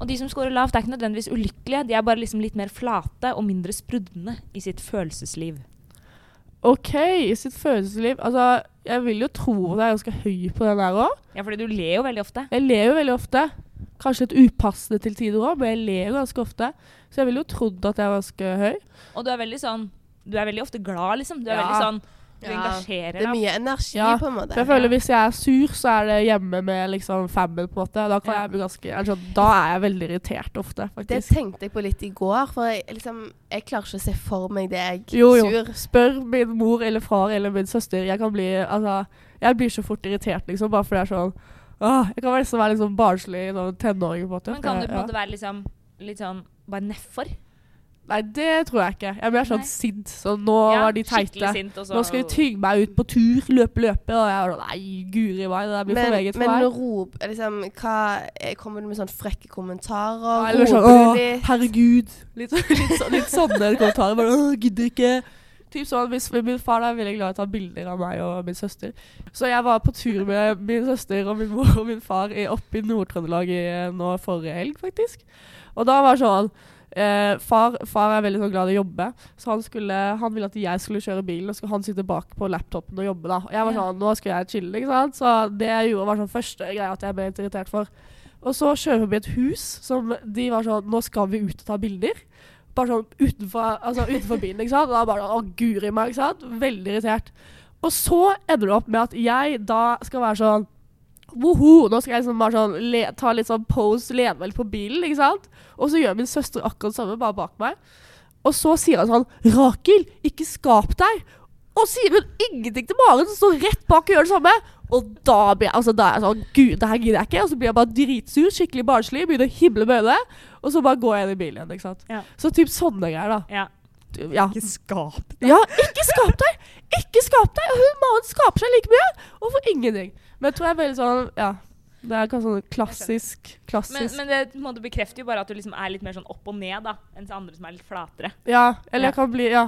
Speaker 2: Og de som scorer lavt, er ikke nødvendigvis ulykkelige. De er bare liksom litt mer flate og mindre sprudlende i sitt følelsesliv.
Speaker 1: OK, i sitt følelsesliv Altså, jeg vil jo tro at jeg er ganske høy på den der òg.
Speaker 2: Ja, fordi du ler jo veldig ofte.
Speaker 1: Jeg ler jo veldig ofte. Kanskje litt upassende til tider òg, men jeg ler jo ganske ofte. Så jeg ville jo trodd at jeg var ganske høy.
Speaker 2: Og du er veldig sånn Du er veldig ofte glad, liksom. Du er
Speaker 1: Ja.
Speaker 2: veldig sånn Du
Speaker 3: Ja.
Speaker 2: engasjerer
Speaker 3: Det er
Speaker 2: deg.
Speaker 3: mye energi,
Speaker 1: Ja,
Speaker 3: på en måte.
Speaker 1: For jeg føler Hvis jeg er sur, så er det hjemme med liksom fammen. på en måte. Da, kan
Speaker 2: Ja.
Speaker 1: jeg bli ganske, altså, da er jeg veldig irritert ofte,
Speaker 3: Det
Speaker 1: faktisk.
Speaker 3: tenkte jeg på litt i går, for jeg, liksom, jeg klarer ikke å se for meg deg
Speaker 1: Jo, jo.
Speaker 3: sur.
Speaker 1: Spør min mor eller far eller min søster. Jeg kan bli, altså, jeg blir så fort irritert, liksom, bare fordi jeg er sånn åh, Jeg kan nesten være liksom barnslig sånn tenåring. på en måte.
Speaker 2: Men kan
Speaker 1: for
Speaker 2: du
Speaker 1: jeg-
Speaker 2: på en måte være liksom litt sånn bare nedfor?
Speaker 1: ja. Nei, det tror jeg ikke. Jeg blir
Speaker 2: Nei.
Speaker 1: sånn sint. Sånn, nå var de
Speaker 2: skikkelig
Speaker 1: teite.
Speaker 2: sint, og så
Speaker 1: Nå skal de tygge meg ut på tur, løpe, løpe. Og jeg er sånn Nei, guri meg, det der blir for
Speaker 3: Men,
Speaker 1: meget for
Speaker 3: men
Speaker 1: meg.
Speaker 3: rop liksom, hva, eh, Kommer du med sånne frekke kommentarer?
Speaker 1: Eller sånn
Speaker 3: Roper
Speaker 1: Å,
Speaker 3: du litt?
Speaker 1: herregud. Litt, så- litt, så- litt sånne kommentarer. Bare Å, gidder ikke. Typ sånn, hvis, Min far da er veldig glad i å ta bilder av meg og min søster. Så jeg var på tur med min søster og min mor og min far i, oppe i Nord-Trøndelag i, nå forrige helg, faktisk. Og da var sånn eh, far, far er veldig sånn glad i å jobbe, så han, skulle, han ville at jeg skulle kjøre bilen, og så skulle han sitte bak på laptopen og jobbe. da. Og jeg var
Speaker 2: Ja.
Speaker 1: sånn, nå skulle jeg chille, ikke sant? Så det jeg gjorde, var sånn første greia at jeg ble litt irritert for. Og så kjører vi forbi et hus som de var sånn Nå skal vi ut og ta bilder. Bare sånn utenfor, altså, utenfor bilen, ikke sant. Og da bare sånn, Å, guri meg, ikke sant. Veldig irritert. Og så ender det opp med at jeg da skal være sånn Woho! Nå skal jeg liksom bare sånn le, ta litt sånn pose, lene meg litt på bilen, ikke sant. Og så gjør min søster akkurat det samme, bare bak meg. Og så sier han sånn Rakel, ikke skap deg! Og sier hun ingenting til Maren, som står rett bak og gjør det samme. Og da blir jeg altså, da er jeg sånn Gud, det her gidder jeg ikke. Og så blir jeg bare dritsur, skikkelig barnslig, begynner å himle med øynene. Og så bare går jeg inn i bilen igjen. ikke sant?
Speaker 2: Ja.
Speaker 1: Så typ sånne greier, da.
Speaker 2: Ja.
Speaker 1: Ja.
Speaker 2: Ikke skap.
Speaker 1: ja, ikke skap deg! Ikke skap deg! Og hun Maren skaper seg like mye, og for ingenting. Men jeg tror jeg er veldig sånn Ja. Det er kanskje sånn klassisk
Speaker 2: Men,
Speaker 1: Klassisk.
Speaker 2: men det på en måte, bekrefter jo bare at du liksom er litt mer sånn opp og ned da, enn så andre som er litt flatere.
Speaker 1: ja. Eller jeg kan bli Ja.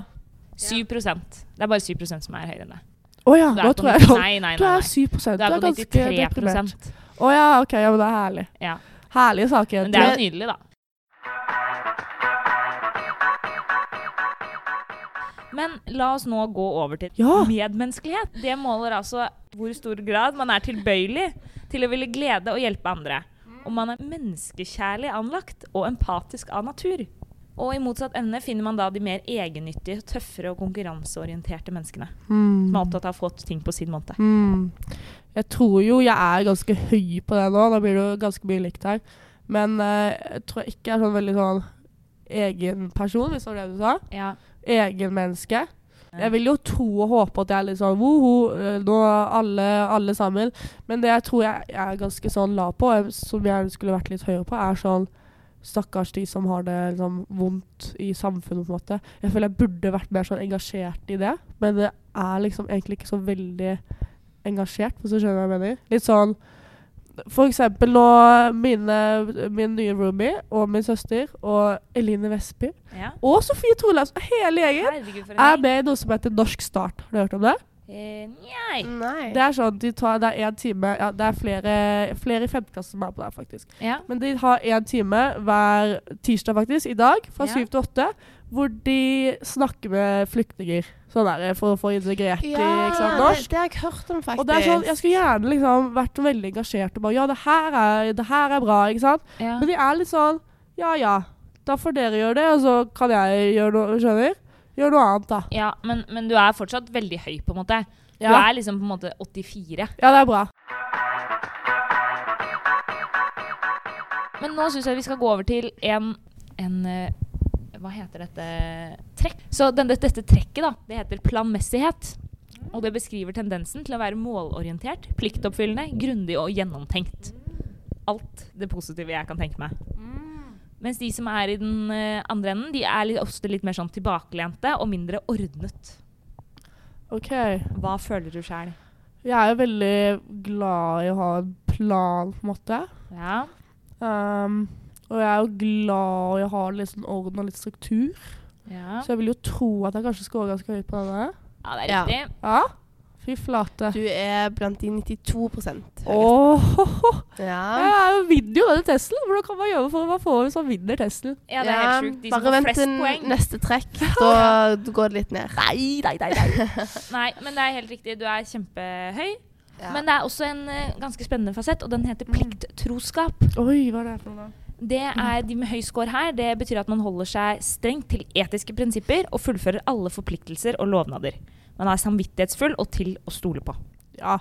Speaker 2: 7 Det er bare 7 som er høyere enn deg.
Speaker 1: Å ja,
Speaker 2: Du er
Speaker 1: nå
Speaker 2: på
Speaker 1: tror jeg
Speaker 2: nitt-
Speaker 1: sånn.
Speaker 2: Nei, nei,
Speaker 1: Du
Speaker 2: nei.
Speaker 1: er
Speaker 2: nei.
Speaker 1: 7 Du
Speaker 2: Du er på
Speaker 1: ganske
Speaker 2: 93
Speaker 1: deprimert. Å ja, OK. Ja, men det er herlig.
Speaker 2: Ja.
Speaker 1: Herlige saker.
Speaker 2: Men det er jo nydelig, da. Men la oss nå gå over til
Speaker 1: Ja.
Speaker 2: medmenneskelighet. Det måler altså hvor stor grad man er tilbøyelig til å ville glede og hjelpe andre. Om man er menneskekjærlig anlagt og empatisk av natur. Og i motsatt evne finner man da de mer egennyttige, tøffere og konkurranseorienterte menneskene. Som er opptatt av å få ting på sin måte.
Speaker 1: Mm. Jeg tror jo jeg er ganske høy på det nå. Da blir det jo ganske mye likt her. Men eh, jeg tror jeg ikke er sånn veldig sånn egen person, hvis det var det du sa.
Speaker 2: Ja.
Speaker 1: Egen menneske. Jeg vil jo tro og håpe at jeg er litt sånn woho, eh, nå er alle, alle sammen. Men det jeg tror jeg er ganske sånn lav på, eh, som jeg skulle vært litt høyere på, er sånn Stakkars de som har det liksom, vondt i samfunnet, på en måte. Jeg føler jeg burde vært mer sånn engasjert i det, men det er liksom egentlig ikke så veldig engasjert, hvis du skjønner hva jeg mener. Litt sånn For eksempel nå mine, min nye roomie og min søster og Eline Vestby
Speaker 2: ja.
Speaker 1: og Sofie Trolaus og hele gjengen
Speaker 2: Herregud, for
Speaker 1: er
Speaker 2: en gjeng.
Speaker 1: med i noe som heter Norsk Start. Har du hørt om det?
Speaker 2: Eh, Nei.
Speaker 3: Nei.
Speaker 1: Det er sånn, de tar, det er en time, ja, det er flere, flere i femteklasse som er på det her, faktisk.
Speaker 2: Ja.
Speaker 1: Men de har én time hver tirsdag, faktisk, i dag, fra
Speaker 2: Ja.
Speaker 1: syv til åtte, hvor de snakker med flyktninger. Sånn er det, for å få integrert de, ikke sant,
Speaker 3: det,
Speaker 1: norsk.
Speaker 3: det har jeg hørt om, faktisk.
Speaker 1: Og det er sånn, Jeg skulle gjerne liksom vært veldig engasjert og bare Ja, det her er, det her er bra, ikke sant?
Speaker 2: Ja.
Speaker 1: Men de er litt sånn Ja ja, da får dere gjøre det, og så kan jeg gjøre noe, skjønner? Gjøre noe annet, da.
Speaker 2: Ja, men, men du er fortsatt veldig høy, på en måte. Du
Speaker 1: Ja.
Speaker 2: er liksom på en måte 84.
Speaker 1: Ja, det er bra.
Speaker 2: Men nå syns jeg vi skal gå over til en, en eh, Hva heter dette? Trekk. Så den, dette trekket da, det heter planmessighet. Og det beskriver tendensen til å være målorientert, pliktoppfyllende, grundig og gjennomtenkt. Alt det positive jeg kan tenke meg. Mens de som er i den eh, andre enden, de er litt, ofte litt mer sånn tilbakelente og mindre ordnet.
Speaker 1: OK.
Speaker 2: Hva føler du sjæl?
Speaker 1: Jeg er jo veldig glad i å ha en plan, på en måte.
Speaker 2: Ja.
Speaker 1: Um, og jeg er jo glad i å ha litt sånn orden og litt struktur.
Speaker 2: Ja.
Speaker 1: Så jeg vil jo tro at jeg kanskje scorer ganske høyt på denne.
Speaker 2: ja, det er
Speaker 3: Ja.
Speaker 2: riktig.
Speaker 1: Ja. Fy flate.
Speaker 3: Du er blant de 92 høyest.
Speaker 1: Åh,
Speaker 3: Ja.
Speaker 1: jeg vinner jo denne testen. Hvordan kan man gjøre for å få hvis man vinner testen?
Speaker 2: Ja, det er
Speaker 3: Ja,
Speaker 2: helt sjukt. De som
Speaker 3: Bare
Speaker 2: har
Speaker 3: vent
Speaker 2: flest
Speaker 3: til
Speaker 2: poeng.
Speaker 3: neste trekk, da går det litt ned.
Speaker 1: Nei, nei, nei. nei.
Speaker 2: Nei, men det er helt riktig. Du er kjempehøy. Men det er også en eh, ganske spennende fasett, og den heter
Speaker 1: Mm.
Speaker 2: plikttroskap.
Speaker 1: Oi, hva er det for noe?
Speaker 2: Det er de med høy score her. Det betyr at man holder seg strengt til etiske prinsipper og fullfører alle forpliktelser og lovnader. Man er samvittighetsfull og til å stole på.
Speaker 1: Ja.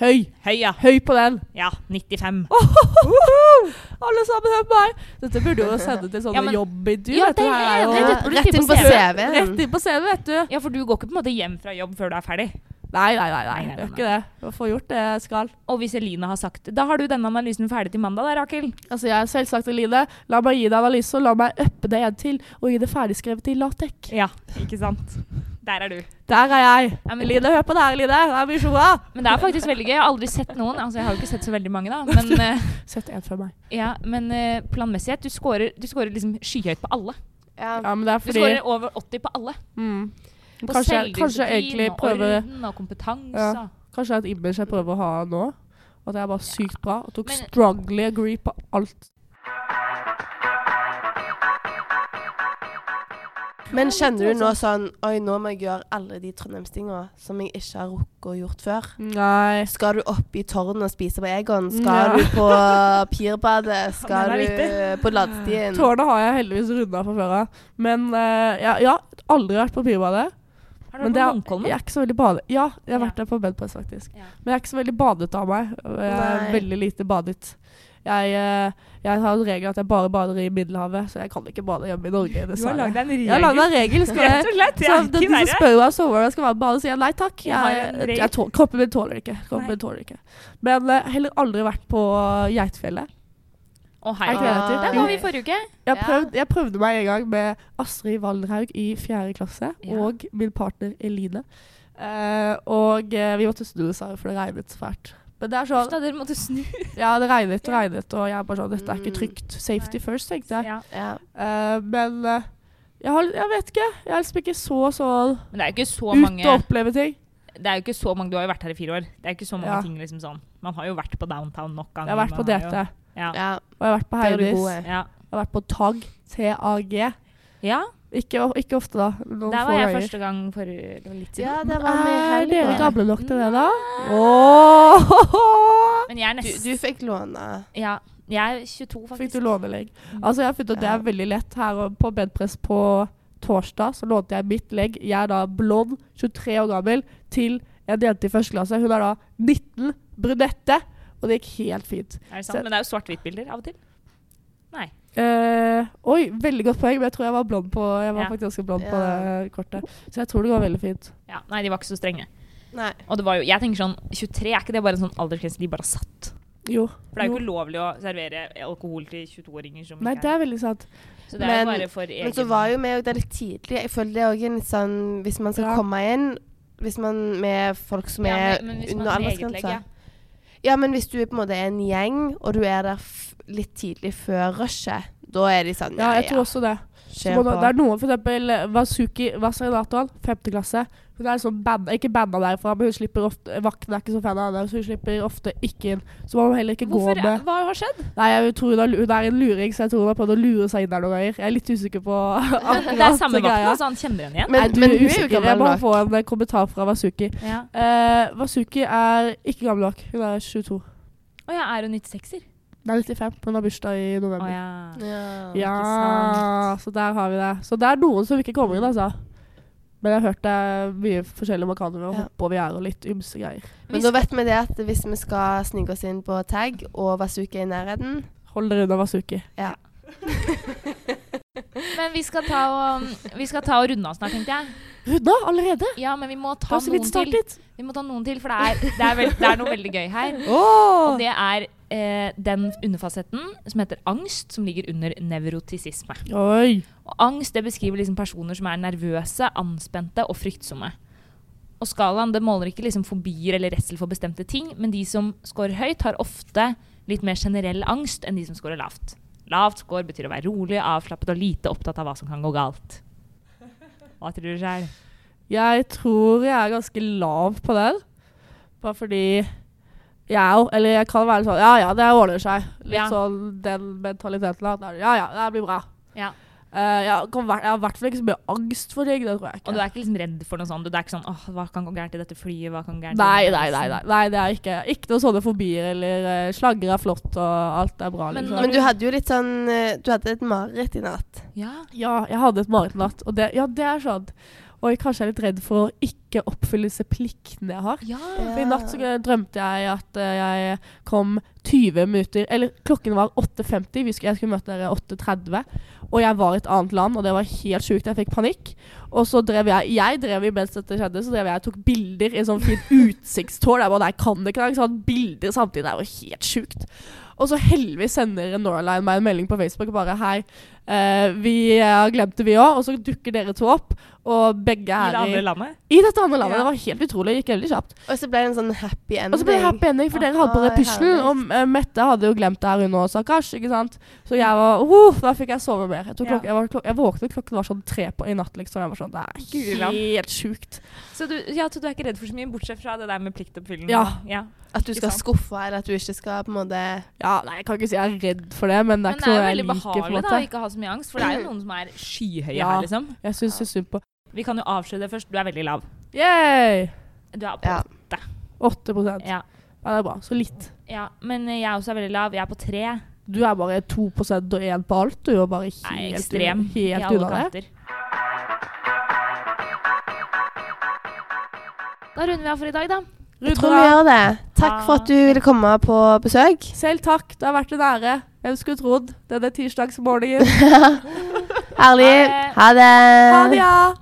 Speaker 1: Høy.
Speaker 2: Høy, ja.
Speaker 1: Høy på den.
Speaker 2: Ja, 95.
Speaker 1: Ohohoho! Alle sammen, hør på meg. Dette burde jo sende til sånne
Speaker 2: Ja, men-
Speaker 1: jobbintervju.
Speaker 2: Ja,
Speaker 1: vet du,
Speaker 2: det
Speaker 1: her
Speaker 2: er
Speaker 1: og-
Speaker 2: det.
Speaker 3: Ja,
Speaker 2: Rett-
Speaker 3: rett inn på
Speaker 2: rett
Speaker 3: CV-en.
Speaker 1: Rett inn på CV, vet du.
Speaker 2: Ja, for du går ikke på en måte hjem fra jobb før du er ferdig.
Speaker 1: Nei, nei, nei. nei.
Speaker 2: Nei, nei,
Speaker 1: Gjør
Speaker 2: nei.
Speaker 1: ikke det. Jeg får gjort det jeg skal.
Speaker 2: Og hvis Eline har sagt Da har du denne analysen ferdig til mandag, da, Rakel.
Speaker 1: Altså, jeg er selvsagt Eline. La meg gi deg analyse, og la meg uppe det igjen til. Og gi det ferdigskrevet i latek.
Speaker 2: Ja, ikke sant. Der er du.
Speaker 1: Der er jeg.
Speaker 2: Ja, men-
Speaker 1: Eline, hør på det her, Eline. Det er misjonen.
Speaker 2: Men det er faktisk veldig gøy. Jeg har aldri sett noen. Altså, jeg har jo ikke sett så veldig mange, da. Men eh,
Speaker 1: Sett en for meg.
Speaker 2: Ja, men eh, planmessighet, du scorer, du scorer liksom skyhøyt på alle.
Speaker 1: Ja, men det er
Speaker 2: Du
Speaker 1: fordi
Speaker 2: scorer over 80 på alle.
Speaker 1: mm.
Speaker 2: På
Speaker 1: Kanskje, jeg- kanskje jeg
Speaker 2: selvdisiplin
Speaker 1: egentlig
Speaker 2: og
Speaker 1: prøver
Speaker 2: orden og kompetanse.
Speaker 1: Ja. Kanskje det er et image jeg prøver å ha nå. At jeg er bare sykt bra. Og tok
Speaker 2: Men-
Speaker 1: strongly agree på alt.
Speaker 3: Men kjenner du nå
Speaker 2: Altså-
Speaker 3: sånn Oi, nå må jeg gjøre alle de trondheimstinga som jeg ikke har rukket å gjort før.
Speaker 1: Nei.
Speaker 3: Skal du opp i tårnet og spise på Egon?
Speaker 1: Ja.
Speaker 3: Skal du på Pirbadet? Skal
Speaker 2: Den er
Speaker 3: du på Ladestien?
Speaker 1: Tårnet har jeg heldigvis runda fra før av. Men eh, jeg, jeg har aldri vært på bybadet.
Speaker 2: Har du
Speaker 1: Men
Speaker 2: vært
Speaker 1: det
Speaker 2: på
Speaker 1: er,
Speaker 2: Munkholmen?
Speaker 1: jeg er ikke så veldig bade... Ja, jeg har
Speaker 2: Ja.
Speaker 1: vært der på Bedpress, faktisk.
Speaker 2: Ja.
Speaker 1: Men jeg er ikke så veldig badet av meg. og Jeg er
Speaker 3: Nei.
Speaker 1: veldig lite badet. Jeg, eh, jeg har en regel at jeg bare bader i Middelhavet, så jeg kan ikke bade hjemme i Norge. Dessverre.
Speaker 2: deg en
Speaker 1: Jeg har laget en regel. Skal jeg
Speaker 2: Rett og slett. Det
Speaker 1: Så
Speaker 2: er
Speaker 1: de
Speaker 2: ikke
Speaker 1: som
Speaker 2: verre.
Speaker 1: spør meg om sommeren jeg skal være med badet, sier jeg nei takk.
Speaker 2: Jeg har
Speaker 1: Jeg,
Speaker 2: en
Speaker 1: jeg,
Speaker 2: regel.
Speaker 1: tål, kroppen min tåler det ikke.
Speaker 2: Nei.
Speaker 1: Kroppen min tåler det ikke. Men eh, heller aldri vært på eh, Geitfjellet.
Speaker 2: Å, hei.
Speaker 1: Er ikke det det heter?
Speaker 2: Der
Speaker 1: Jo.
Speaker 2: var vi i forrige uke.
Speaker 1: Jeg,
Speaker 3: Ja.
Speaker 1: prøvd, jeg prøvde meg en gang med Astrid Valderhaug i fjerde klasse
Speaker 2: Ja.
Speaker 1: og min partner Eline. Eh, og eh, vi måtte snu oss av, for det regnet fælt. Men det er
Speaker 2: Uff
Speaker 1: sånn,
Speaker 2: da, dere måtte snu.
Speaker 1: ja, det regnet og regnet, og jeg er bare sånn Dette er ikke
Speaker 3: Mm.
Speaker 1: trygt. Safety first, tenkte jeg.
Speaker 2: Ja.
Speaker 3: Ja.
Speaker 1: Eh, men eh, jeg, har, jeg vet ikke. Jeg er liksom ikke så sånn
Speaker 2: Men det er jo ikke så
Speaker 1: ut og
Speaker 2: mange
Speaker 1: oppleve ting.
Speaker 2: Det er jo ikke så mange Du har jo vært her i fire år. Det er jo ikke så mange
Speaker 1: Ja.
Speaker 2: ting liksom sånn. Man har jo vært på downtown nok ganger.
Speaker 1: Jeg har vært på
Speaker 2: man har jo-
Speaker 1: DT.
Speaker 2: Ja.
Speaker 3: ja.
Speaker 1: Og jeg har vært på
Speaker 3: Det er du
Speaker 1: Heidis.
Speaker 3: god i.
Speaker 1: Jeg
Speaker 2: Ja.
Speaker 1: har vært på TAG. T-A-G.
Speaker 2: ja.
Speaker 1: Ikke, ikke ofte, da. Noen
Speaker 2: Der
Speaker 1: få
Speaker 2: var jeg
Speaker 1: ganger.
Speaker 2: første gang for det var litt siden.
Speaker 3: ja, eh, det var vi i
Speaker 1: Er dere
Speaker 3: helga.
Speaker 1: gamle nok til det, da? Åh!
Speaker 2: Men jeg er
Speaker 3: Du,
Speaker 2: nesten
Speaker 3: du fikk låne.
Speaker 2: Ja. Jeg er 22,
Speaker 1: Fikk
Speaker 2: faktisk.
Speaker 1: du lånelegg? Altså, jeg har funnet at det er veldig lett. Her og- på bedpress på torsdag så lånte jeg mitt legg. Jeg er da blond, 23 år gammel, til en jente i første klasse. Hun er da 19, brunette. Og det gikk helt fint.
Speaker 2: Er det sant? Men det er jo svart-hvitt-bilder av og til. Nei.
Speaker 1: Eh, oi, veldig godt poeng, men jeg tror jeg var blond på Jeg var
Speaker 2: Ja.
Speaker 1: faktisk ganske blond på
Speaker 3: Ja.
Speaker 1: det kortet. Så jeg tror det går veldig fint.
Speaker 2: Ja, nei, de var ikke så strenge.
Speaker 3: Nei.
Speaker 2: Og det var jo, jeg tenker sånn, 23 er ikke det bare en sånn aldersgrense de bare har satt?
Speaker 1: Jo.
Speaker 2: For det er jo ikke ulovlig å servere alkohol til 22-åringer som
Speaker 1: Nei,
Speaker 2: ikke
Speaker 1: det er veldig sant.
Speaker 2: Så det er jo
Speaker 3: Men-
Speaker 2: bare for egen
Speaker 3: Men så var jo vi òg der litt tidlig. Jeg føler det er òg en litt sånn Hvis man skal
Speaker 1: Ja.
Speaker 3: komme inn hvis man med folk som
Speaker 2: Ja,
Speaker 3: er
Speaker 2: men- men hvis man
Speaker 3: under
Speaker 2: har eget legg,
Speaker 3: aldersgrensa.
Speaker 2: ja.
Speaker 3: Ja, men hvis du er på en måte en gjeng, og du er der f litt tidlig før rushet, da er de sånn
Speaker 1: Ja, jeg tror også det. Så må,
Speaker 3: på.
Speaker 1: du- det er noen, for eksempel eh, Wazuki Wasarinatoen, femte klasse. Hun er liksom band, ikke banda derfra, men hun slipper ofte Vakten er ikke så fan av henne, så hun slipper ofte ikke inn. Så man må heller ikke
Speaker 2: Hvorfor?
Speaker 1: gå med
Speaker 2: Hva har skjedd?
Speaker 1: Nei, jeg tror hun er, lu- hun er en luring, så jeg tror hun har prøvd å lure seg inn der noen ganger. Jeg er litt usikker på akkurat
Speaker 2: Det er samme vakt,
Speaker 1: greia.
Speaker 2: altså. Han kjenner henne igjen.
Speaker 3: Men,
Speaker 1: Nei, du
Speaker 3: men
Speaker 1: er
Speaker 3: hun er jo
Speaker 1: usikker. Jeg
Speaker 3: gammel
Speaker 1: må
Speaker 3: nok.
Speaker 1: få en eh, kommentar fra Wazuki.
Speaker 2: Å ja.
Speaker 1: Eh, Wazuki er ikke gammel nok. Hun er 22.
Speaker 2: Å ja, er hun 96-er?
Speaker 1: Nei, 95. Hun har bursdag i
Speaker 2: Å
Speaker 1: november.
Speaker 2: ja. Sånn,
Speaker 3: Ja.
Speaker 1: Ja, så der har vi det. Så det er noen som ikke kommer inn, altså. Men jeg har hørt det er mye forskjellig man kan
Speaker 3: Ja.
Speaker 1: hoppe over gjerdet og litt ymse greier.
Speaker 3: Men da vet vi det at hvis vi skal snike oss inn på tag, og Vasuke er i nærheten,
Speaker 1: Hold dere unna Vasuki.
Speaker 2: Men vi skal ta og, vi skal ta og runde av snart, tenkte jeg.
Speaker 1: Rudda allerede?
Speaker 2: Ja, men vi må
Speaker 1: Det
Speaker 2: ta
Speaker 1: har så vidt
Speaker 2: noen til.
Speaker 1: startet.
Speaker 2: Vi må ta noen til, for det er, det er, vel- det er noe veldig gøy her.
Speaker 1: Åh!
Speaker 2: Og det er eh, den underfasetten som heter angst, som ligger under nevrotisisme.
Speaker 1: Oi.
Speaker 2: Og angst det beskriver liksom personer som er nervøse, anspente og fryktsomme. Og skalaen det måler ikke liksom fobier eller redsel for bestemte ting, men de som scorer høyt, har ofte litt mer generell angst enn de som scorer lavt. Lavt score betyr å være rolig, avslappet og lite opptatt av hva som kan gå galt. Hva tror du sjøl?
Speaker 1: Jeg tror jeg er ganske lav på den. Bare fordi jeg er jo Eller jeg kan være litt sånn Ja ja, det ordner seg. Litt
Speaker 2: Ja.
Speaker 1: sånn den mentaliteten. at det er, Ja ja, det blir bra.
Speaker 2: Ja.
Speaker 1: Eh, jeg, kan, være- jeg har i hvert fall ikke så mye angst for ting. Det tror jeg ikke.
Speaker 2: Og du er ikke liksom redd for noe sånt? Du er ikke sånn åh, hva kan gå gærent i dette flyet? Hva kan gå gærent i
Speaker 1: Nei,
Speaker 2: denne
Speaker 1: nei, nei,
Speaker 2: reisen?»
Speaker 1: nei, nei, det er ikke Ikke noen sånne fobier eller eh, slagger er flott og alt er bra.
Speaker 2: Men
Speaker 1: liksom.
Speaker 2: når
Speaker 3: Men du hadde jo litt sånn eh, Du hadde et mareritt i natt.
Speaker 2: Ja.
Speaker 1: Ja, jeg hadde et marerittnatt, og det, ja, det er sånn. Og jeg kanskje er litt redd for å ikke oppfylle disse pliktene jeg har.
Speaker 2: ja.
Speaker 1: For I natt så drømte jeg at eh, jeg kom 20 minutter Eller klokken var 8.50, vi skulle, jeg skulle møte dere 8.30. Og jeg var i et annet land, og det var helt sjukt. Jeg fikk panikk. Og så drev jeg Jeg drev imens dette skjedde, så drev jeg og tok bilder i sånn fint utsiktstårn. Jeg bare Nei, kan det ikke det? Sånn bilder samtidig. Det er jo helt sjukt. Og så heldigvis sender Noraline meg en melding på Facebook og bare Hei, eh, vi har glemt det, vi òg. Og så dukker dere to opp, og begge
Speaker 2: I det
Speaker 1: er
Speaker 2: andre
Speaker 1: i,
Speaker 2: landet?
Speaker 1: i dette andre landet.
Speaker 2: Ja.
Speaker 1: Det var helt utrolig. Det gikk veldig kjapt.
Speaker 3: Og så ble det en sånn happy ending.
Speaker 1: Og så ble det happy ending, for dere hadde bare
Speaker 3: Å,
Speaker 1: puslen. Og eh, Mette hadde jo glemt det her, hun også, stakkars. Ikke sant. Så jeg var oh, Da fikk jeg sove mer. Jeg, tror
Speaker 2: Ja.
Speaker 1: klok- jeg, var, klok jeg våknet klokken var sånn tre på i natt, liksom. Jeg var sånn Det
Speaker 2: Guri
Speaker 1: er
Speaker 2: land.
Speaker 1: helt sjukt.
Speaker 2: Så du, ja, så du er ikke redd for så mye, bortsett fra det der med pliktoppfyllende?
Speaker 1: Ja.
Speaker 2: ja.
Speaker 3: At du skal
Speaker 2: Ikke sant?
Speaker 3: skuffe, eller at du ikke skal på en måte
Speaker 1: Ja, nei, jeg kan ikke si jeg er redd for det, men det er
Speaker 2: Men
Speaker 1: ikke
Speaker 2: det er
Speaker 1: noe
Speaker 2: jo
Speaker 1: jeg
Speaker 2: veldig
Speaker 1: liker, på en
Speaker 2: behagelig da,
Speaker 1: måte.
Speaker 2: å ikke ha så mye angst, for det er jo noen som er skyhøye
Speaker 1: Ja.
Speaker 2: her, liksom.
Speaker 1: Jeg syns jo synd på
Speaker 2: Vi kan jo avsløre det først. Du er veldig lav.
Speaker 1: Yay!
Speaker 2: Du er på
Speaker 3: Ja.
Speaker 1: 8 ja.
Speaker 2: ja.
Speaker 1: det er bra. Så litt.
Speaker 2: ja. Men eh, jeg også er veldig lav. Jeg er på tre.
Speaker 1: Du er bare 2 og 1 på alt. Du er bare helt,
Speaker 2: Jeg er ekstrem
Speaker 1: u-
Speaker 2: i
Speaker 1: helt
Speaker 2: alle
Speaker 1: unna det.
Speaker 2: kanter. Da runder vi av for i dag, da.
Speaker 3: Jeg
Speaker 1: Rudra,
Speaker 3: tror vi gjør det. Takk for at du ville komme på besøk.
Speaker 1: Selv takk. Det har vært en ære. Hvem skulle trodd denne tirsdagsmorgenen.
Speaker 3: Herlig.
Speaker 2: Ha det.
Speaker 3: Ha det.
Speaker 1: Ha det, ja!